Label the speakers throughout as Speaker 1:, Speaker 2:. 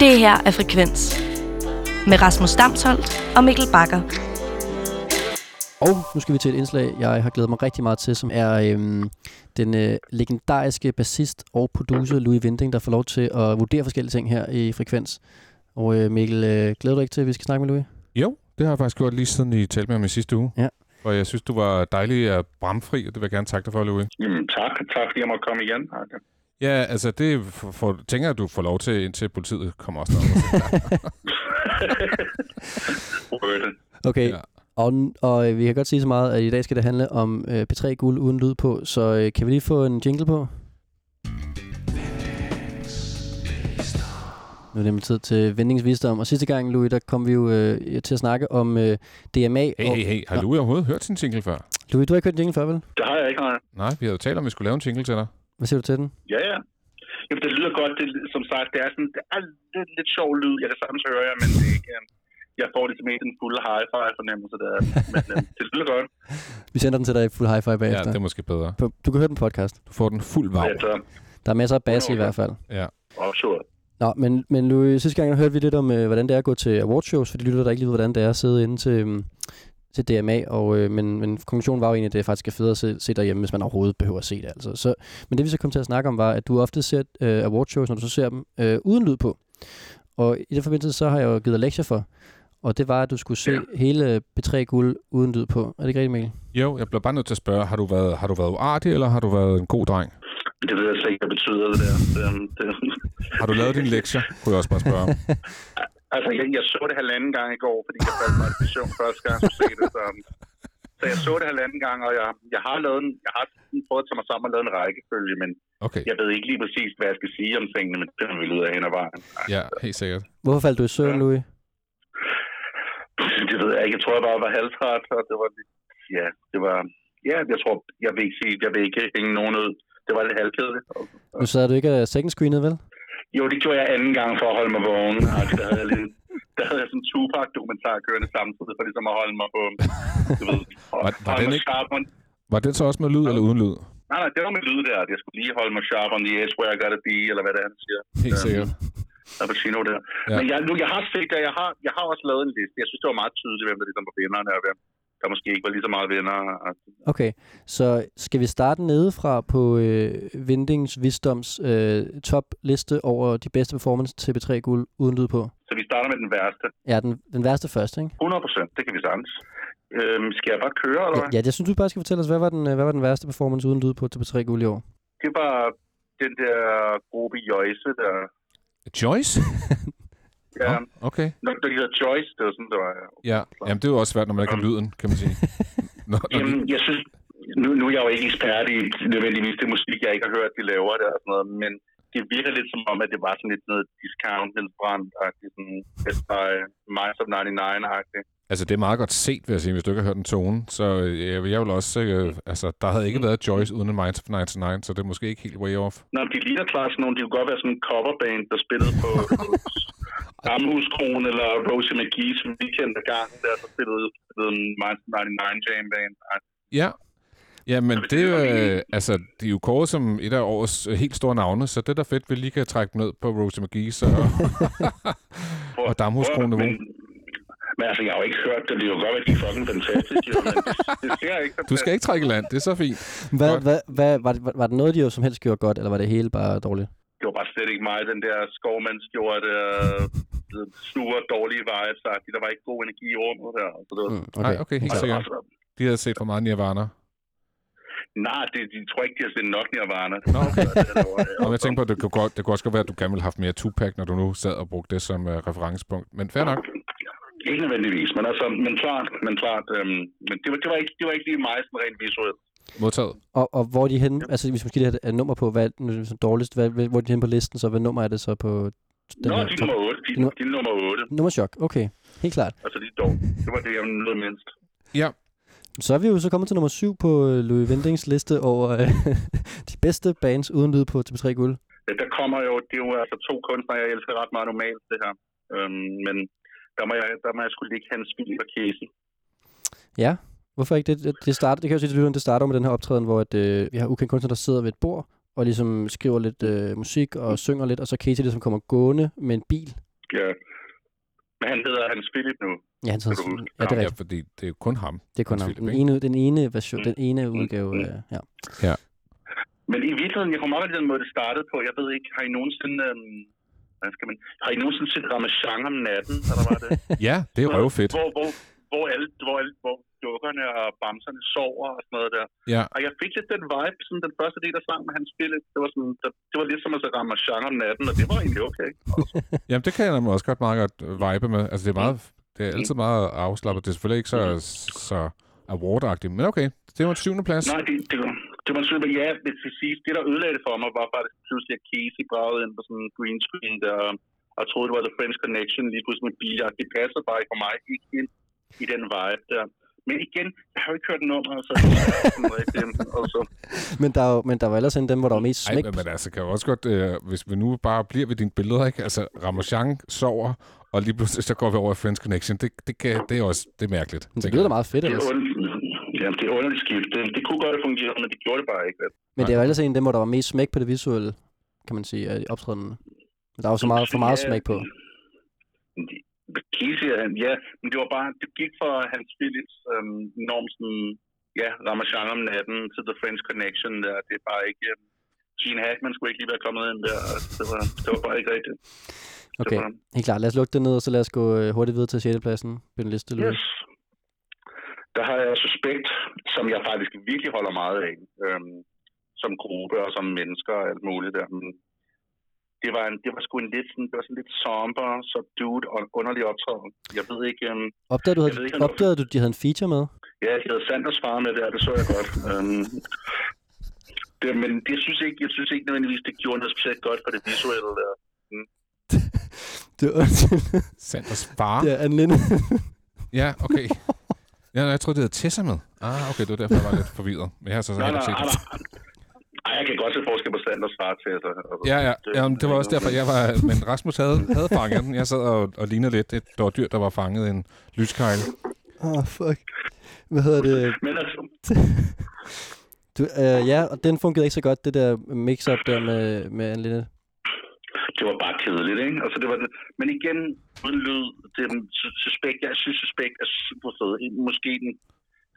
Speaker 1: Det her er Frekvens med Rasmus Damsholdt og Mikkel Bakker.
Speaker 2: Og nu skal vi til et indslag, jeg har glædet mig rigtig meget til, som er øhm, den øh, legendariske bassist og producer Louis Vinding, der får lov til at vurdere forskellige ting her i Frekvens. Og øh, Mikkel, øh, glæder du dig ikke til, at vi skal snakke med Louis?
Speaker 3: Jo, det har jeg faktisk gjort lige siden I talte med ham i sidste uge.
Speaker 2: Ja.
Speaker 3: Og jeg synes, du var dejlig og bramfri, og det vil jeg gerne takke dig for, Louis.
Speaker 4: Jamen, tak. Tak, fordi jeg måtte komme igen. Arke.
Speaker 3: Ja, altså det for, for, tænker jeg, du får lov til, indtil politiet kommer også derover.
Speaker 4: Røde.
Speaker 2: Okay, ja.
Speaker 3: Ja.
Speaker 2: og, n- og øh, vi kan godt sige så meget, at i dag skal det handle om øh, P3 Guld uden lyd på, så øh, kan vi lige få en jingle på? Nu er det nemlig tid til vindingsvisdom, og sidste gang, Louis, der kom vi jo øh, til at snakke om øh, DMA.
Speaker 3: Hey, hey, hey, har Louis overhovedet hørt sin jingle før?
Speaker 2: Og, Louis, du har ikke hørt en jingle før, vel?
Speaker 4: Det har jeg ikke, nej.
Speaker 3: Nej, vi havde jo talt om, at vi skulle lave en jingle til dig.
Speaker 2: Hvad siger du til den?
Speaker 4: Ja, ja. Jamen, det lyder godt. Det, som sagt, det er, sådan, det er lidt, lidt sjov lyd. Jeg kan sagtens høre jer, men det er ikke, øhm, jeg får ligesom ikke den fulde hi-fi-fornemmelse der. Men øhm, det lyder godt.
Speaker 2: Vi sender den til dig i fuld hi-fi
Speaker 3: Ja,
Speaker 2: bagefter.
Speaker 3: det
Speaker 2: Ja,
Speaker 3: er måske bedre.
Speaker 2: det... Du kan høre den på podcast.
Speaker 3: Du får den fuld
Speaker 4: Wow.
Speaker 3: varv.
Speaker 4: Altså,
Speaker 2: Der er masser af bass i
Speaker 4: Okay.
Speaker 2: hvert fald.
Speaker 3: Ja.
Speaker 4: offshore.
Speaker 2: Nå, men, men Louis, sidste gang hørte vi lidt om, øh, hvordan det er at gå til awardshows, for de lytter der ikke lige ved, hvordan det er at sidde inde til, øhm, til DMA, og, øh, men, men konklusionen var jo egentlig, at det faktisk er federe at se, se derhjemme, hvis man overhovedet behøver at se det. Altså. Så, men det vi så kom til at snakke om, var, at du ofte ser øh, awardshows, når du så ser dem øh, uden lyd på. Og i den forbindelse, så har jeg jo givet dig lektier for, og det var, at du skulle se
Speaker 4: Ja.
Speaker 2: hele P3 Guld uden lyd på. Er det ikke rigtigt, Mikkel?
Speaker 3: Jo, jeg bliver bare nødt til at spørge, har du været, har du været uartig, eller har du været en god dreng?
Speaker 4: Det ved jeg slet ikke, hvad betyder det der. Det, øhm, det,
Speaker 3: Har du lavet din lektier? Kunne jeg også bare spørge om.
Speaker 4: Altså, jeg, jeg så det halvanden gang i går, fordi jeg faldt mig i søvn første gang, jeg se det. Så, øhm, så jeg så det halvanden gang, og jeg, jeg har, lavet en, jeg har sådan prøvet at tage mig sammen og lavet en rækkefølge, men
Speaker 3: Okay,
Speaker 4: jeg ved ikke lige præcis, hvad jeg skal sige om tingene, men det finder vi ud af hen ad vejen.
Speaker 3: ja, helt sikkert.
Speaker 2: Hvorfor faldt du i søvn,
Speaker 4: Ja.
Speaker 2: Louis?
Speaker 4: Det ved jeg ikke. Jeg tror, jeg bare var halvtræt, og det var lidt... Ja, det var... Ja, jeg tror, jeg vil ikke sige, jeg vil ikke hænge nogen ud. Det var lidt halvkedeligt.
Speaker 2: Nu sad du ikke af second screenet, vel?
Speaker 4: Jo, det gjorde jeg anden gang for at holde mig vågen. Altså, der havde jeg lidt... Der havde jeg sådan en Tupac-dokumentar kørende samtidig, for ligesom at holde mig på... Du ved, og,
Speaker 3: Var- var
Speaker 4: holde
Speaker 3: den
Speaker 4: mig
Speaker 3: ikke-
Speaker 4: sharp on,
Speaker 3: Var det så også med lyd eller uden lyd?
Speaker 4: nej, nej, det var med lyd der. at Jeg skulle lige holde mig sharp on the edge, where I gotta be, eller hvad det er, han siger.
Speaker 3: Helt sikkert.
Speaker 4: Der var Chino der.
Speaker 3: Ja.
Speaker 4: Ja. Men jeg, nu, jeg har set det, jeg har, jeg har også lavet en liste. Jeg synes, det var meget tydeligt, hvem der ligesom var vinderne, og hvem der måske ikke var lige så meget vinder.
Speaker 2: Okay, så skal vi starte nedefra på øh, Vindings Visdoms øh, topliste over de bedste performance til B3 Guld uden lyd på?
Speaker 4: Så vi starter med den værste.
Speaker 2: Ja, den, den værste først, ikke?
Speaker 4: 100 procent, det kan vi sagtens. Øhm, skal jeg bare køre, eller hvad?
Speaker 2: Ja, jeg synes, du bare skal fortælle os, hvad var den, øh, hvad var den værste performance uden lyd på til B3 Guld i år?
Speaker 4: Det var den der gruppe Joyce, der...
Speaker 3: Joyce?
Speaker 4: Ja,
Speaker 3: Nå, Okay,
Speaker 4: Nå, der hedder Joyce, det var sådan, det var... ja.
Speaker 3: ja. Jamen, det er jo også svært, når man ikke har lyden, kan man sige. Nå, når
Speaker 4: Jamen, jeg synes... Nu, nu er jeg jo ikke ekspert i nødvendigvis det musik, jeg ikke har hørt, de laver der og sådan noget, men det virker lidt som om, at det var sådan lidt noget discount, Niels Brandt-agtigt, sådan Best Buy, Minds of 99-agtigt.
Speaker 3: Altså, det er meget godt set, vil jeg sige, hvis du ikke har hørt en tone. Så øh, jeg, vil- jeg vil også... Øh, altså, der havde
Speaker 4: Mm.
Speaker 3: ikke været Joyce uden en Minds of 99, så det er måske ikke helt way off.
Speaker 4: Nå, de ligner klart sådan nogle, de kunne godt være sådan en coverband, der spillede på Amhuskron eller Rosie McGee, som vi kendte gang, der så spillede, spillede en Minds of 99 Jam Band.
Speaker 3: Ja. Ja, men
Speaker 4: Jamen,
Speaker 3: det,
Speaker 4: det er jo
Speaker 3: øh,
Speaker 4: helt-
Speaker 3: altså, de er jo kåret som et af årets øh, helt store navne, så det er da fedt, vi lige kan trække dem ned på Rosie McGee, så...
Speaker 4: Prøv-
Speaker 3: Og Damhuskron-niveau.
Speaker 4: prøv- men- Men altså, jeg har jo ikke hørt det. Det er jo godt, at de er fucking fantastiske, jo, men det ser ikke så
Speaker 3: du skal ikke trække i land, det er så fint.
Speaker 2: Hvad,
Speaker 3: Godt.
Speaker 2: hvad, hvad, var, det, var, var det noget, de jo som helst gjorde godt, eller var det hele bare dårligt?
Speaker 4: Det var bare slet ikke mig, den der skovmandskjorte, øh, snure, dårlige vibes. sagt. Der var ikke god energi i rummet der. Så det var,
Speaker 2: Mm, okay.
Speaker 3: Nej, okay. okay, helt
Speaker 4: altså,
Speaker 3: sikkert.
Speaker 4: altså,
Speaker 3: De havde set for meget Nirvana.
Speaker 4: nej, det, de tror ikke, de har set nok nirvana.
Speaker 3: Nå, okay. Og jeg
Speaker 4: tænker
Speaker 3: tænker på, at det kunne, godt, det kunne også godt være, at du gerne ville have haft mere Tupac, når du nu sad og brugte det som øh, referencepunkt. Men fair nok.
Speaker 4: Ikke nødvendigvis, men altså, men klart, men klart, øhm, men det var, det var ikke, det var ikke lige mig sådan rent visuelt.
Speaker 3: Modtaget.
Speaker 2: Og, og hvor er de henne, altså hvis vi skal lige have et- et nummer på, hvad nu er det så dårligst, hvad, hvad- hvor er de henne på listen, så hvad nummer er det så på den
Speaker 4: Nå,
Speaker 2: her?
Speaker 4: de er
Speaker 2: top-
Speaker 4: nummer 8, de,
Speaker 2: Nu-
Speaker 4: de er nummer 8,
Speaker 2: Nummer chok, okay, helt klart.
Speaker 4: altså de er dog. Det var det, jeg nåede mindst.
Speaker 3: Ja,
Speaker 2: Så er vi jo så kommet til nummer syv på øh, Louis Vindings liste over øh, de bedste bands uden lyd på TV3 Guld.
Speaker 4: Ja, Der kommer jo, det er jo altså to kunstnere, jeg elsker ret meget normalt, det her. Øhm, men der må jeg, der må jeg skulle ligge Hans Philip og Casey.
Speaker 2: Ja, hvorfor ikke det? Det, starter, det kan jeg jo sige til lytteren, det starter med den her optræden, hvor at, øh, vi har ukendte kunstnere, der sidder ved et
Speaker 4: Mm.
Speaker 2: bord og ligesom skriver lidt øh, musik og synger lidt, og så Katie ligesom kommer gående med en bil
Speaker 4: Ja. Men han hedder Hans Philip nu.
Speaker 2: Ja, han
Speaker 4: Kan du
Speaker 2: sådan,
Speaker 4: huske?
Speaker 2: ja, det er
Speaker 3: ja,
Speaker 2: rigtigt.
Speaker 3: fordi det er jo kun ham.
Speaker 2: Det er kun ham.
Speaker 3: Hans
Speaker 2: Den
Speaker 3: Philip, ikke?
Speaker 2: ene, den ene, version, den ene udgave.
Speaker 4: Mm.
Speaker 2: Øh, ja.
Speaker 4: Men i virkeligheden, jeg kommer op af den måde, det startede på. Jeg ved ikke, har I nogensinde... Øhm, hvad skal man, har I nogensinde set Ramachan om natten, eller var det?
Speaker 3: Ja, det er røvfedt.
Speaker 4: Hvor, hvor, hvor, alle, hvor, alle, hvor dukkerne og bamserne sover og sådan noget der.
Speaker 3: Ja.
Speaker 4: Og jeg fik lidt den vibe, sådan den første del af sangen, han spillede. Det var, sådan, der, det var lidt som at så rammer genre om natten, og det var egentlig okay.
Speaker 3: Jamen, det kan jeg nemlig også godt meget godt øh, vibe med. Altså, det er, meget, det er altid meget afslappet. Det er selvfølgelig ikke så, så awardagtigt, men okay. Det var en syvende plads.
Speaker 4: Nej, det, det, var, det var sådan, men ja, det, det, sidste, det der ødelagde det for mig, var faktisk pludselig, at Casey bragede ind på sådan en green screen der, og troede, det var The French Connection, lige pludselig med biljagt. Det passer bare ikke for mig ikke ind i den vibe der. Men igen, jeg har jo ikke hørt nummeret, så det er sådan rigtig- og så
Speaker 2: Men, der er jo, men der var ellers en af dem, hvor der var mest
Speaker 3: Ej,
Speaker 2: smæk.
Speaker 3: men, men altså, kan jeg også godt, øh, hvis vi nu bare bliver ved dine billeder, ikke? Altså, Ramachan sover, og lige pludselig så går vi over i Friends Connection. Det, det, kan, det er også det er mærkeligt.
Speaker 2: Men det
Speaker 3: tænker
Speaker 2: lyder da
Speaker 3: jeg.
Speaker 2: meget fedt
Speaker 4: Det er,
Speaker 2: ellers.
Speaker 4: und, jamen, det er underligt skift. Det, det kunne godt fungere, men det gjorde det bare ikke. vel?
Speaker 2: Men det var ellers en af dem, hvor der var mest smæk på det visuelle, kan man sige, af optrædende. Men der var så meget, for meget
Speaker 4: Ja.
Speaker 2: smæk på.
Speaker 4: Casey, han, ja, men det var bare, det gik fra Hans Philips øhm, norm, sådan, ja, Ramachan om natten til The French Connection, der, det er bare ikke, øhm, Gene Hackman skulle ikke lige være kommet ind der, altså, det var, det var bare ikke rigtigt. Det
Speaker 2: Okay,
Speaker 4: var,
Speaker 2: helt klart. Lad os lukke det ned, og så lad os gå øh, hurtigt videre til 6. pladsen på den liste. Louis.
Speaker 4: yes. Der har jeg Suspekt, som jeg faktisk virkelig holder meget af, øhm, som gruppe og som mennesker og alt muligt der, men det var, en, det var sgu en lidt, sådan, det var sådan lidt somber, subdued og underlig optræden. Jeg ved ikke, øhm,
Speaker 2: Opdagede du,
Speaker 4: Jeg
Speaker 2: havde,
Speaker 4: ved ikke, om-
Speaker 2: opdagede du, de havde en feature med?
Speaker 4: Ja, jeg havde Sanders far med der, det så jeg godt. um, det, men det synes jeg ikke, jeg synes ikke nødvendigvis, det gjorde noget specielt godt for det visuelle der.
Speaker 2: Det var
Speaker 3: Sanders far?
Speaker 2: det
Speaker 3: Ja,
Speaker 2: er Anne Linde.
Speaker 3: ja okay. Ja, jeg troede, det havde Tessa med. Ah, okay, det var derfor, jeg var lidt forvirret. Men jeg har så
Speaker 4: Nej,
Speaker 3: heller
Speaker 4: nej,
Speaker 3: ikke set
Speaker 4: nej,
Speaker 3: det.
Speaker 4: nej. Ej, jeg kan godt se forskel på Sanders far til sig. Altså,
Speaker 3: Ja, ja. Jamen, det var også derfor, jeg var... Men Rasmus havde, havde fanget den. Jeg sad og, og lignede lidt. Det var dyr, der var fanget i en lyskejle.
Speaker 2: Åh, oh, fuck. Hvad hedder det?
Speaker 4: Men altså,
Speaker 2: Du, øh, ja, og den fungerede ikke så godt, det der mix-up der med, med Anne Linde.
Speaker 4: det var bare kedeligt, ikke? Altså, det var, det. men igen, uden lyd, det er Sus- suspekt, jeg synes suspekt er super fed. Måske den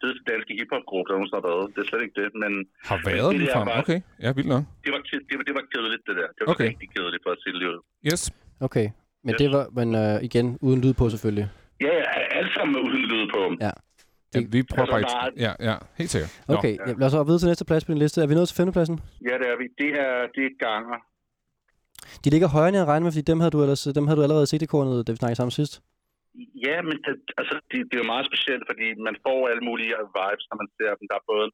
Speaker 4: fedeste danske hiphop-gruppe, der nogensinde har været. Det er slet ikke det, men
Speaker 3: Har været
Speaker 4: Det
Speaker 3: lige
Speaker 4: der
Speaker 3: frem.
Speaker 4: var-
Speaker 3: Okay, ja, vildt nok.
Speaker 4: det var, ked- det, var, det var kedeligt, det der. Det var
Speaker 3: Okay.
Speaker 4: okay. rigtig kedeligt for at se det lige ud.
Speaker 3: Yes.
Speaker 2: Okay, men
Speaker 4: Yes.
Speaker 2: det var, men øh, igen, uden lyd på selvfølgelig.
Speaker 4: Ja, ja, alt sammen med uden lyd på.
Speaker 3: Ja, vi prøver
Speaker 4: Altså,
Speaker 3: faktisk... Ja, ja, helt sikkert. Nå.
Speaker 2: Okay, ja. lad os så videre til næste plads på din liste. Er vi nået til femtepladsen?
Speaker 4: Ja, det er vi. Det er, det er ganger.
Speaker 2: De ligger højere end jeg regnede med, fordi dem havde du, ellers, dem havde du allerede set i kornet, da vi snakkede sammen sidst.
Speaker 4: Ja, men det, altså, det, det er jo meget specielt, fordi man får alle mulige vibes, når man ser dem. Der er både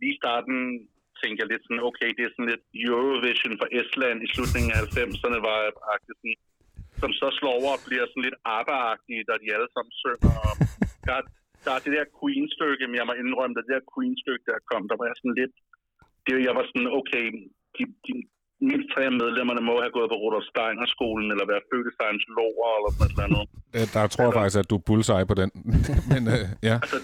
Speaker 4: lige i starten tænker jeg lidt sådan, okay, det er sådan lidt Eurovision for Estland i slutningen af 90'erne, var agtigt sådan, som så slår over og bliver sådan lidt arbejagtige, da de alle sammen synger. Og der, der er det der Queen-stykke, men jeg må indrømme, da det der Queen-stykke der kom, der var jeg sådan lidt, det, jeg var sådan, okay, de, de mindst tre af medlemmerne må have gået på Rudolf Steiner-skolen, eller været født i Science-loger, eller sådan et eller andet.
Speaker 3: Øh, Der tror jeg faktisk, at du er bullseye på den. Men øh, ja,
Speaker 4: Altså,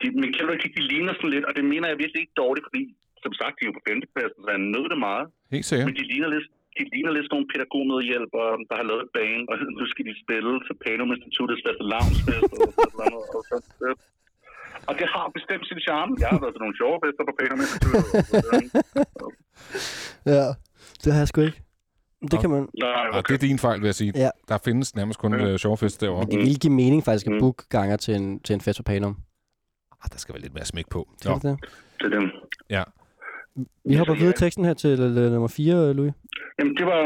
Speaker 4: de, men kan du ikke, de ligner sådan lidt, og det mener jeg virkelig ikke dårligt, fordi som sagt, de er jo på femtepladsen, så jeg nød det meget.
Speaker 3: helt
Speaker 4: Ja.
Speaker 3: sikkert.
Speaker 4: Men de ligner lidt, de ligner lidt sådan nogle pædagogmedhjælpere, der har lavet et band, og nu skal de spille til Panum Instituttets Lasse Lavnsfest, og, sådan noget, og, så, øh. og det har bestemt sin charme. Jeg har været til nogle sjove fester på Panum Instituttet. og så, øh.
Speaker 2: Ja, det har jeg sgu ikke. Det kan man...
Speaker 4: Nej,
Speaker 3: Og Ah, det
Speaker 4: okay.
Speaker 3: er din fejl, vil jeg sige.
Speaker 2: Ja.
Speaker 3: Der findes nærmest kun øh, sjovfest derovre.
Speaker 2: Men det ville give mening faktisk at
Speaker 4: Mm.
Speaker 2: booke ganger til en, til en fest på Panum.
Speaker 3: Ah, der skal være lidt mere smæk på.
Speaker 2: Skal det det?
Speaker 4: Det er dem.
Speaker 3: Ja.
Speaker 2: Vi hopper
Speaker 4: Ja.
Speaker 2: videre i teksten her til øh, nummer 4, Louis.
Speaker 4: Jamen, det var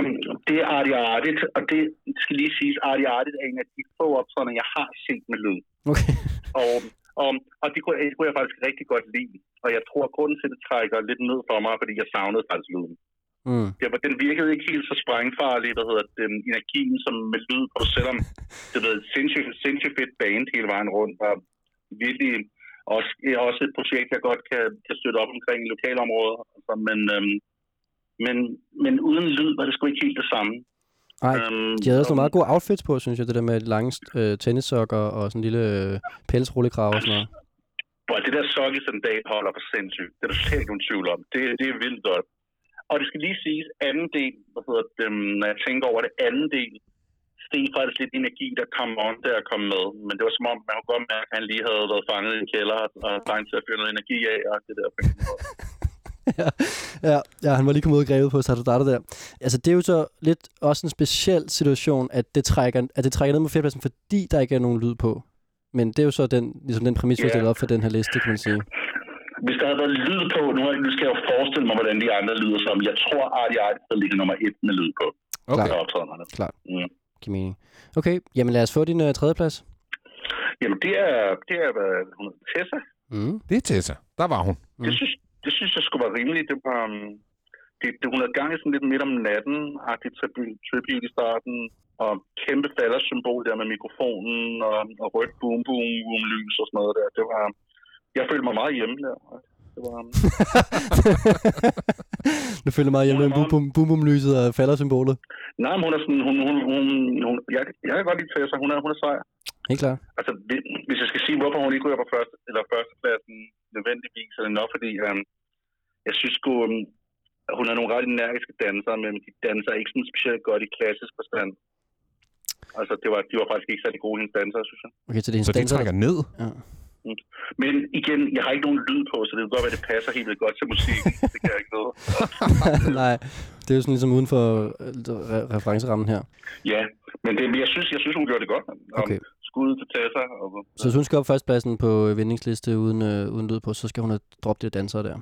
Speaker 4: det er Artie Artit, og det skal lige siges, Artie Artit er en af de få optrædener, jeg har set med lyd.
Speaker 2: Okay.
Speaker 4: Og, og, og det, kunne, det kunne jeg faktisk rigtig godt lide. Og jeg tror, at grunden til, at det trækker lidt ned for mig, fordi jeg savnede faktisk lyden.
Speaker 2: Mm.
Speaker 4: Det var, den virkede ikke helt så sprængfarlig, hvad hedder den energien, som med lyd på, selvom det var et sindssygt, sindssygt fedt band hele vejen rundt. Og virkelig også, er også et projekt, jeg godt kan, kan støtte op omkring i lokalområder. Altså, men, øhm, men, men uden lyd var det sgu ikke helt det samme.
Speaker 2: Ej,
Speaker 4: øhm,
Speaker 2: de havde også
Speaker 4: og-
Speaker 2: nogle meget gode outfits på, synes jeg. Det der med de lange øh, tennissokker og sådan en lille øh, pelsrullekrav og sådan noget.
Speaker 4: Bro, det der sokkesandal holder for sindssygt. Det er der slet ikke nogen tvivl om. Det, det er vildt godt. Og det skal lige siges, anden del, hvad hedder det, øhm, når jeg tænker over det, anden del se fra det lidt energi, der kom on der kom med. Men det var som om, man kunne godt mærke, at han lige havde været fanget i en kælder og trængt til at fyre noget energi af og det der. på en måde.
Speaker 2: ja, ja, ja, han var lige kommet ud og grebet på Satudata der. Altså, det er jo så lidt også en speciel situation, at det trækker, at det trækker ned mod fjerdepladsen, fordi der ikke er nogen lyd på. Men det er jo så den, ligesom den præmis, vi har
Speaker 4: Ja.
Speaker 2: stillet op for den her liste, kan man sige.
Speaker 4: Hvis der havde været lyd på, nu, har- nu skal jeg jo forestille mig, hvordan de andre lyder som. Jeg tror, at jeg ligger nummer et med lyd på.
Speaker 3: Okay.
Speaker 4: Der Mm. optræderne.
Speaker 2: Giver mening. Okay, jamen lad os få din uh, tredjeplads.
Speaker 4: Jamen, det er, det er hvad hun hedder, Tessa.
Speaker 2: Mm.
Speaker 3: Det er Tessa. Der var hun.
Speaker 4: Det,
Speaker 2: Mm.
Speaker 4: synes, det synes jeg skulle være rimeligt. Det var, um, det, det, hun havde gang i sådan lidt midt om natten, agtig tribute, tribute i starten, og kæmpe faldersymbol der med mikrofonen, og, og rødt boom boom boom lys og sådan noget der. Det var, jeg følte mig meget hjemme der. Det var, um,
Speaker 2: nu føler jeg mig hjemme med boom, boom, boom, boom lyset og faldersymbolet.
Speaker 4: nej, men hun er sådan, hun, hun, hun, hun jeg, jeg kan godt lide Tessa, hun er, hun er sej.
Speaker 2: Helt klart.
Speaker 4: Altså, hvi- hvis jeg skal sige, hvorfor hun ikke ryger på første, eller førstepladsen nødvendigvis, så er det nok, fordi øhm, jeg synes sgu, øhm, at hun har nogle ret energiske dansere, men de danser ikke sådan specielt godt i klassisk forstand. Altså, det var, de var faktisk ikke særlig gode, hendes dansere, synes jeg.
Speaker 2: Okay, så det er hendes
Speaker 3: Så det
Speaker 2: danser.
Speaker 3: trækker ned.
Speaker 2: Ja.
Speaker 4: Men igen, jeg har ikke nogen lyd på, så det kan godt være, det passer helt vildt godt til musik. det kan jeg ikke vide.
Speaker 2: Nej, det er jo sådan ligesom uden for øh, re- referencerammen her.
Speaker 4: Ja, men det, men jeg, synes, jeg synes, hun gjorde det godt. Og
Speaker 2: Okay.
Speaker 4: Skud til Tessa. Og,
Speaker 2: Så hvis hun skal op førstepladsen på øh, vindingsliste uden, øh, uden lyd på, så skal hun have droppet det danser der.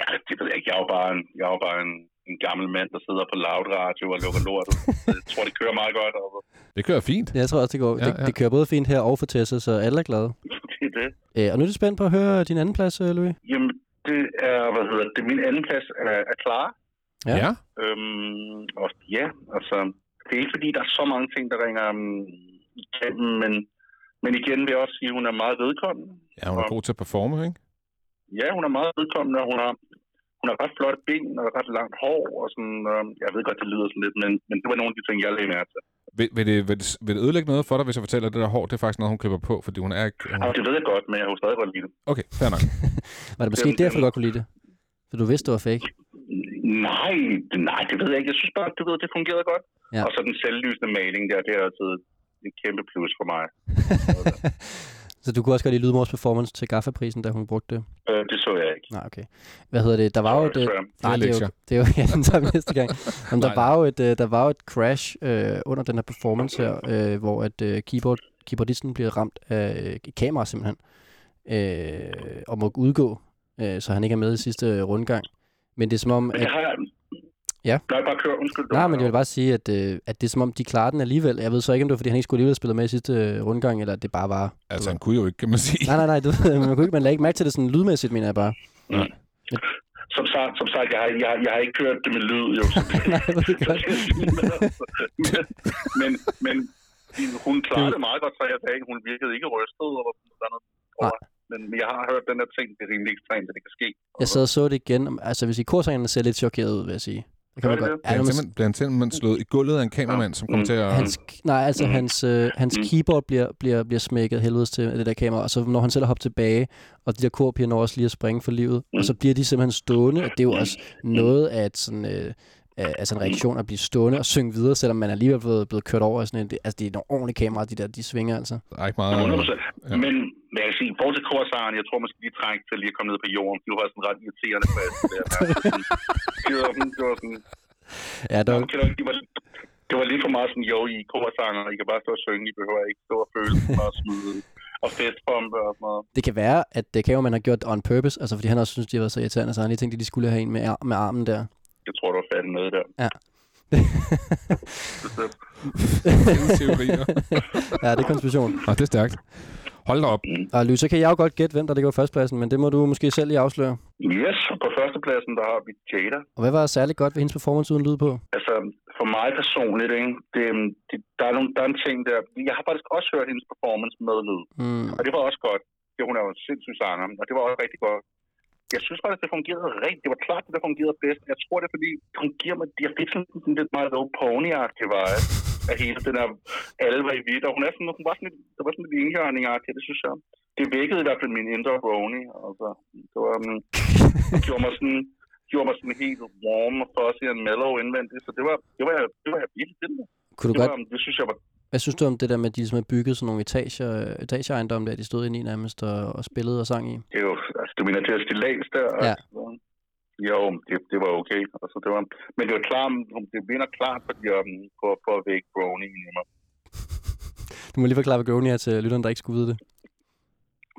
Speaker 4: ja, det ved jeg ikke. Jeg er jo bare en, jeg er jo bare en, en gammel mand, der sidder på loud radio og lukker lort. jeg tror, det kører meget godt. Og,
Speaker 3: Det kører fint.
Speaker 2: Ja, jeg tror også, det går. Ja,
Speaker 3: Ja,
Speaker 2: det,
Speaker 3: ja.
Speaker 2: det kører både fint her og for Tessa, så alle er glade.
Speaker 4: Det er det.
Speaker 2: Øh, og nu er det spændt på at høre din anden plads, øh, Louis.
Speaker 4: Jamen, det er, hvad hedder det, min anden plads er, er klar.
Speaker 2: Ja.
Speaker 3: ja.
Speaker 4: Øhm, og ja, altså, det er ikke fordi, der er så mange ting, der ringer um, igennem, men, men igen vil jeg også sige, at hun er meget vedkommende.
Speaker 3: Ja, hun er god til at performe, ikke?
Speaker 4: Ja, hun er meget vedkommende, og hun har, hun har ret flotte ben og ret langt hår, og sådan, øhm, jeg ved godt, det lyder sådan lidt, men, men det var nogle af de ting, jeg lagde mærke til.
Speaker 3: Vil, vil, det, vil, det, vil det ødelægge noget for dig, hvis jeg fortæller, at det der hår, det er faktisk noget, hun klipper på, fordi hun er ikke... Hun...
Speaker 4: Altså, det ved jeg godt, men jeg har jo stadig godt lide det.
Speaker 3: Okay, fair nok.
Speaker 2: Var det måske
Speaker 4: Jamen,
Speaker 2: derfor, du
Speaker 4: jamen.
Speaker 2: godt kunne lide det? For du vidste, det var fake.
Speaker 4: Nej, det- nej, det ved jeg ikke. Jeg synes bare, du ved, det fungerede godt.
Speaker 2: Ja.
Speaker 4: Ja. Og så den selvlysende maling der, det er altid en kæmpe plus for mig.
Speaker 2: så du kunne også godt lide Lydmors performance til gaffaprisen, da hun brugte det.
Speaker 4: Øh, det så jeg ikke.
Speaker 2: Nej, okay. Hvad hedder det? Der var jo
Speaker 4: Sorry,
Speaker 2: et... øh,
Speaker 4: Trump.
Speaker 2: Nej, det er jo,
Speaker 3: lektier.
Speaker 2: det er jo ja, den tager vi næste gang. Men der,
Speaker 3: Nej,
Speaker 2: var jo et, øh, der var jo et crash øh, under den her performance her, øh, hvor at øh, keyboard, keyboardisten bliver ramt af øh, et kamera simpelthen, øh, og må udgå, øh, så han ikke er med i sidste øh, rundgang. Men det er som om,
Speaker 4: Men
Speaker 2: at
Speaker 4: det har jeg...
Speaker 2: Ja.
Speaker 4: Nej, bare kør. Undskyld.
Speaker 2: Nej, men jeg vil bare sige, at, øh, at det er som om, de klarer den alligevel. Jeg ved så ikke, om det var, fordi han ikke skulle alligevel spille med i sidste øh, rundgang, eller at det bare var...
Speaker 3: Altså, han kunne jo ikke, kan man sige.
Speaker 2: Nej, nej, nej, du, ved, man, kunne ikke, man lagde ikke mærke til det sådan lydmæssigt, mener jeg bare.
Speaker 4: Som sagt, som sagt jeg, har, jeg, har- jeg har ikke kørt det med lyd, jo. Så det,
Speaker 2: nej, det er godt.
Speaker 4: altså, men, men, men hun klarede
Speaker 2: Det-
Speaker 4: det meget godt, så jeg sagde, hun virkede ikke rystet og sådan noget. over. Men jeg har hørt den her ting, det er rimelig ekstremt, at det kan ske.
Speaker 2: Jeg sad og så det igen. Altså, hvis I korsangerne ser lidt chokeret ud, vil jeg sige. Det kan man
Speaker 4: Gør de
Speaker 2: godt.
Speaker 3: Bliver
Speaker 2: Ja,
Speaker 3: han
Speaker 2: når man,
Speaker 3: simpelthen, bliver han simpelthen slået i gulvet af en kameramand, som kommer
Speaker 4: Mm.
Speaker 3: til at...
Speaker 2: hans, nej, altså,
Speaker 4: Mm.
Speaker 2: hans, øh, hans
Speaker 4: Mm.
Speaker 2: keyboard bliver, bliver, bliver smækket helvedes til af det der kamera, og så når han selv hopper tilbage, og de der korpiger når også lige at springe for livet, og så bliver de simpelthen stående, og det er jo også noget af et sådan... Øh, af- altså en reaktion at blive stående og synge videre, selvom man alligevel er blevet, blevet kørt over. af Sådan en, det- altså, det er nogle ordentlige kameraer, de der, de svinger altså.
Speaker 3: Der er ikke meget...
Speaker 4: 100%.
Speaker 3: Ja.
Speaker 4: Ja. Men hvad jeg kan sige, i forhold til korsaren, jeg tror måske lige trængte til lige at komme ned på jorden. De var sådan ret irriterende fast. Det, der. det var sådan, det var sådan,
Speaker 2: Ja, der,
Speaker 4: okay, det var- det var, det var lidt for meget sådan, jo, I er korsanger, I kan bare stå og synge, I behøver ikke stå og føle og smide og festbombe og sådan noget.
Speaker 2: det kan være, at det kan jo, man har gjort det on purpose, altså fordi han også synes, de har været så irriterende, så han lige tænkte, at de skulle have en med, ar- med armen der.
Speaker 4: Jeg tror, du var fat med der.
Speaker 3: Ingen teorier.
Speaker 2: ja, det er konspiration.
Speaker 3: Nå, det er stærkt. Hold da op.
Speaker 2: Og Louis, så kan jeg jo godt gætte, hvem der ligger på førstepladsen, men det må du måske selv lige afsløre.
Speaker 4: Yes, og på førstepladsen, der har vi Jada.
Speaker 2: Og hvad var særligt godt ved hendes performance uden lyd på?
Speaker 4: Altså, for mig personligt, ikke? Det, det, der, er nogle, der er en ting der. Jeg har faktisk også hørt hendes performance med lyd.
Speaker 2: Mm,
Speaker 4: Og det var også godt. Det, hun er jo en sindssyg sanger, og det var også rigtig godt. Jeg synes faktisk, det fungerede rigtigt. Det var klart, det der fungerede bedst. Jeg tror, det er fordi, hun giver mig, jeg fik sådan en lidt meget low pony vibe af hele den her alle var i hvidt. Og hun, er sådan, hun var sådan lidt, der var sådan lidt indgjørning det synes jeg. Det vækkede i hvert fald min indre pony. Altså, det var, um, gjorde mig sådan, gjorde mig sådan helt warm og fuzzy and mellow indvendigt. Så det var, det var, jeg- det var jeg virkelig vild med.
Speaker 2: kunne,
Speaker 4: Det,
Speaker 2: du godt,
Speaker 4: var, det synes jeg var
Speaker 2: Hvad synes du om det der med, at de ligesom havde bygget sådan nogle etager, etageejendomme, der de stod inde i nærmest og, og spillede og sang i?
Speaker 4: Det er jo, altså, du mener til at stille læs der?
Speaker 2: Ja.
Speaker 4: Og, jo, det, det var okay. Altså, det var, men det var klart, det vinder klart, fordi jeg på, på at vække groaningen i mig.
Speaker 2: Du må lige forklare, hvad Goni er til lytteren, der ikke skulle vide det.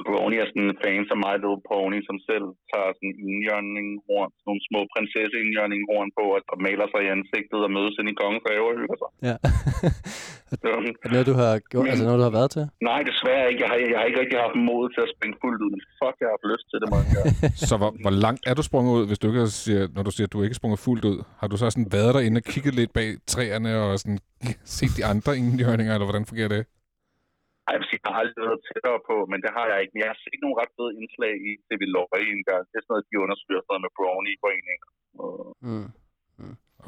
Speaker 4: Groaning er sådan en fan som My Little Pony, som selv tager sådan indjørninghorn, sådan nogle små prinsesse indjørninghorn på, og, og maler sig i ansigtet og mødes ind i kongens altså. have og hygger sig.
Speaker 2: Ja.
Speaker 4: Så,
Speaker 2: er det noget, du har, gjort, altså noget, du har været til?
Speaker 4: nej, desværre ikke. Jeg har, jeg har ikke rigtig haft mod til at springe fuldt ud, men fuck, jeg har haft lyst til det, må jeg gøre.
Speaker 3: Så hvor, hvor langt er du sprunget ud, hvis du ikke siger, når du siger, at du ikke er sprunget fuldt ud? Har du så sådan været derinde og kigget lidt bag træerne og sådan set de andre indhjørninger, eller hvordan fungerer det?
Speaker 4: Ej, jeg vil sige, jeg har aldrig været tættere på, men det har jeg ikke. Men jeg har set nogle ret fede indslag i TV Løje en gang. Det er sådan noget, de undersøger sådan noget med brownie-foreninger. Og
Speaker 2: Mm.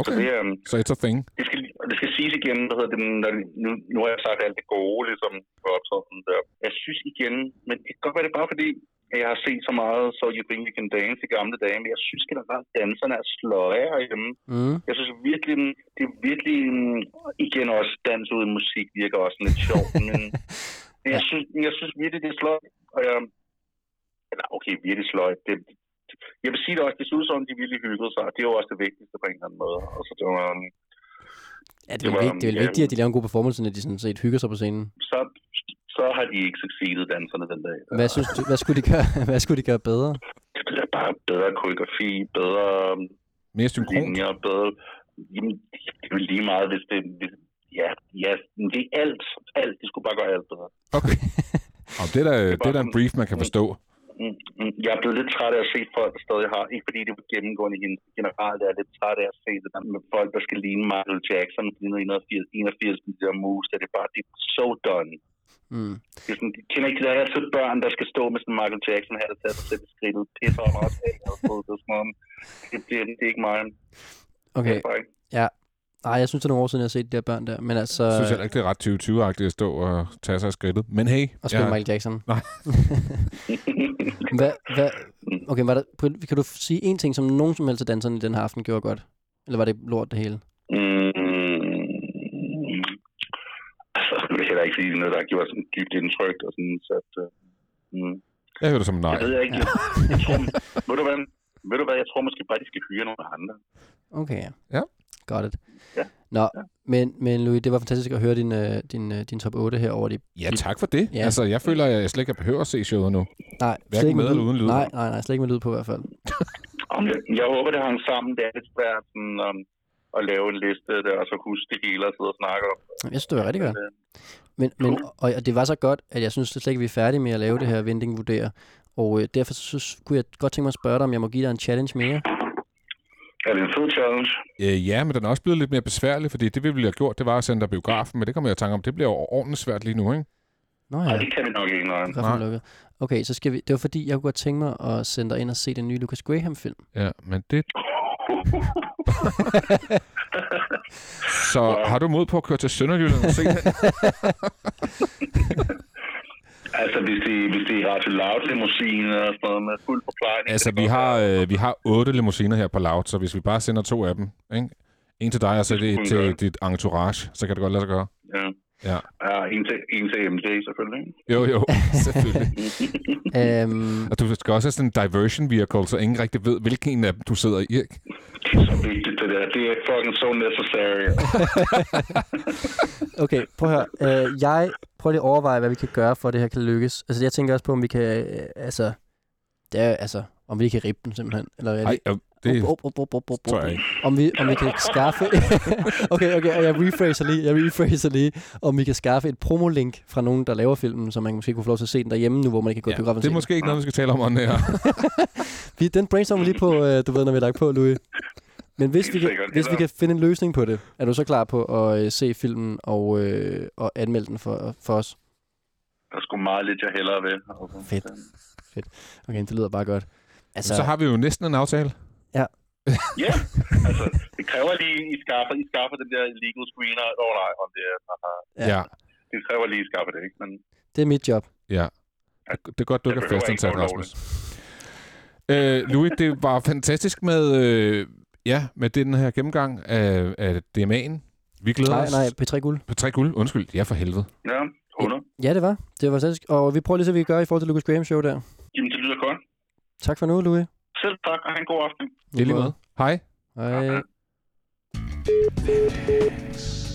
Speaker 4: Så det,
Speaker 3: Okay,
Speaker 4: øhm,
Speaker 3: så it's a thing.
Speaker 4: det, skal, og det skal siges igen, hvad hedder det, når, det- nu, nu har jeg sagt alt det gode, ligesom for optræden der. Jeg synes igen, men det kan godt være, det er bare fordi, at jeg har set så meget, så You Think You Can Dance i gamle dage, men jeg synes generelt, danserne er sløje herhjemme.
Speaker 2: Mm.
Speaker 4: Jeg synes virkelig, den- det er virkelig, mm, igen også dans uden musik virker også lidt sjovt, men men jeg, synes, jeg synes virkelig, det er sløjt. Og jeg, eller okay, virkelig sløjt. Det, jeg vil sige det også, det synes som, de virkelig hyggede sig, og det er jo også det vigtigste på en eller anden måde. Og så det var, mm,
Speaker 2: Ja, det
Speaker 4: Det
Speaker 2: er
Speaker 4: var,
Speaker 2: vel vigtigt, det er vel
Speaker 4: ja.
Speaker 2: vigtigt, at de laver en god performance, når de sådan set hygger sig på scenen.
Speaker 4: så, så har de ikke succeset danserne den dag.
Speaker 2: Hvad, synes du, hvad, skulle de gøre, hvad skulle de gøre bedre?
Speaker 4: Det bliver bare bedre koreografi, bedre mm,
Speaker 3: Mere synkron.
Speaker 4: linjer, bedre... Jamen, det er jo lige meget, hvis det... Hvis, ja, ja, men det er alt. Alt. De skulle bare gøre alt bedre.
Speaker 3: Okay. Om det er da,
Speaker 4: er
Speaker 3: det er da en brief, man kan forstå.
Speaker 4: Mm, mm. Jeg er blevet lidt træt af at se folk, der stadig har, ikke fordi det var gennemgående hende generelt, jeg er lidt træt af at se det der med folk, der skal ligne Michael Jackson, ligne 81, 81 med de der moves, der det er bare, det er so done.
Speaker 2: Mm.
Speaker 4: Det er sådan, de kender ikke det der altid børn, der skal stå med sådan en Michael Jackson her, der tager sig selv i skridtet, pisser om os af, og så det er sådan noget. Det, det, det, er ikke mig. Det
Speaker 2: Okay,
Speaker 4: er bare ikke.
Speaker 2: Ej, jeg synes, det er nogle år siden, jeg har set de der børn der. Men altså,
Speaker 3: Jeg synes heller ikke, det er ret 2020-agtigt at stå og tage sig af skridtet. Men hey,
Speaker 2: og spille ja.
Speaker 3: jeg,
Speaker 2: Michael Jackson.
Speaker 3: Nej.
Speaker 2: hvad, hvad,
Speaker 3: Mm.
Speaker 2: okay, var der, prøv- kan du sige en ting, som nogen som helst af danserne i den her aften gjorde godt? Eller var det lort det hele?
Speaker 4: Mm. Altså, jeg vil heller ikke sige noget, der gjorde sådan et dybt indtryk, og sådan, så at, øh, mm.
Speaker 3: jeg hører det som en nej.
Speaker 4: Det ved jeg ikke. Jeg tror, ved, du hvad, ved du hvad, jeg tror måske bare, de skal hyre nogle andre.
Speaker 2: Okay, ja.
Speaker 3: Ja.
Speaker 2: Got it.
Speaker 4: Ja.
Speaker 2: Nå, men, men Louis, det var fantastisk at høre din, øh, din, øh, din top 8 her over de...
Speaker 3: Ja, tak for det.
Speaker 2: Ja.
Speaker 3: Altså, jeg føler, at jeg slet ikke behøver at se showet nu.
Speaker 2: Nej,
Speaker 3: Hverken med eller uden lyd.
Speaker 2: Nej, nej, nej, slet ikke med lyd på i hvert fald.
Speaker 4: Om jeg, jeg håber, det hang sammen. Det er lidt svært sådan, um, at lave en liste der, og så huske det hele og sidde og snakke om.
Speaker 2: Jeg synes, det var rigtig godt.
Speaker 4: Øh,
Speaker 2: Men, men og, og det var så godt, at jeg synes slet ikke, vi er færdige med at lave det her vending vurderer. Og øh, derfor synes, kunne jeg godt tænke mig at spørge dig, om jeg må give dig en challenge mere.
Speaker 4: Er det en fed challenge?
Speaker 3: Øh, ja, men den er også blevet lidt mere besværlig, fordi det, vi ville have gjort, det var at sende dig biografen, men det kommer jeg i tanke om, det bliver jo ordentligt svært lige nu, ikke?
Speaker 2: Nå
Speaker 4: Nej,
Speaker 2: ja,
Speaker 4: det kan vi nok ikke, nej.
Speaker 2: det var
Speaker 3: nej.
Speaker 2: lukket. Okay, så skal vi... Det var fordi, jeg kunne godt tænke mig at sende dig ind og se den nye Lucas Graham-film.
Speaker 3: Ja, men det... Så har du mod på at køre til Sønderjylland og se den?
Speaker 4: Altså, hvis det, hvis det er Radio Loud limousine og sådan noget med fuld forplejning.
Speaker 3: Altså,
Speaker 4: det
Speaker 3: vi
Speaker 4: kan godt
Speaker 3: har,
Speaker 4: være.
Speaker 3: øh, vi har otte limousiner her på Loud, så hvis vi bare sender to af dem, ikke? En til dig, og så
Speaker 4: Det
Speaker 3: det
Speaker 4: kunne vi gøre.
Speaker 3: til dit entourage, så kan det godt lade sig gøre.
Speaker 4: Ja.
Speaker 3: Ja.
Speaker 4: ja en, til, en til MJ, selvfølgelig.
Speaker 3: Jo, jo, selvfølgelig.
Speaker 2: Øhm,
Speaker 3: Og du skal også have sådan en diversion vehicle, så ingen rigtig ved, hvilken en af dem du sidder i, ikke?
Speaker 4: Det er så vigtigt, det der. Det er fucking so necessary.
Speaker 2: okay, prøv at høre. Øh, jeg prøver lige at overveje, hvad vi kan gøre for, at det her kan lykkes. Altså, jeg tænker også på, om vi kan... Øh, altså, det er, altså, om vi kan ribbe den simpelthen. Eller, hvad er
Speaker 3: Nej, det
Speaker 2: Op, op, op, op, op, op,
Speaker 3: tror jeg
Speaker 2: op.
Speaker 3: ikke.
Speaker 2: Om vi, om vi kan skaffe... okay, okay, og jeg rephraser lige, jeg rephraser lige, om vi kan skaffe et promolink fra nogen, der laver filmen, så man måske kunne få lov til at se den derhjemme nu, hvor man ikke kan gå i biografen. og
Speaker 3: det er
Speaker 2: se
Speaker 3: måske ikke noget, vi skal tale om on her.
Speaker 2: den. Vi, den brainstormer vi lige på, øh, du ved, når vi er lagt på, Louis. Men hvis
Speaker 4: Helt
Speaker 2: vi, kan,
Speaker 4: sikkert,
Speaker 2: hvis vi
Speaker 4: eller-
Speaker 2: kan finde en løsning på det, er du så klar på at øh, se filmen og, øh, og anmelde den for, for os?
Speaker 4: Der er sgu meget lidt, jeg hellere vil. Altså.
Speaker 2: Fedt. Okay, det lyder bare godt. Altså,
Speaker 3: Så har vi jo næsten en aftale.
Speaker 4: Ja, altså, det kræver lige, I skaffer, I skaffer den der legal screener. Åh oh, nej, om det, er- aha.
Speaker 2: Ja.
Speaker 3: Ja.
Speaker 4: det kræver lige, I skaffer det, ikke? Men
Speaker 2: det er mit job.
Speaker 3: Ja. Det er godt, du
Speaker 4: Jeg
Speaker 3: ikke er
Speaker 4: behøver
Speaker 3: fastansat,
Speaker 4: ikke
Speaker 3: Rasmus. Øh, Louis, det var fantastisk med, øh, ja, med den her gennemgang af, af DMA'en. Vi glæder
Speaker 2: Nej,
Speaker 3: os
Speaker 2: nej, P3 Guld.
Speaker 3: på tre guld. Undskyld, ja for helvede.
Speaker 4: Ja, 100.
Speaker 2: Ja, det var. Det var fantastisk. Og vi prøver lige, så vi kan gøre i forhold til Lucas Graham Show der.
Speaker 4: Jamen, det lyder godt.
Speaker 2: Tak for nu, Louis.
Speaker 4: Selv tak, og have en god aften.
Speaker 3: Det er lige meget.
Speaker 2: Hej.
Speaker 3: Hej.
Speaker 4: Hej.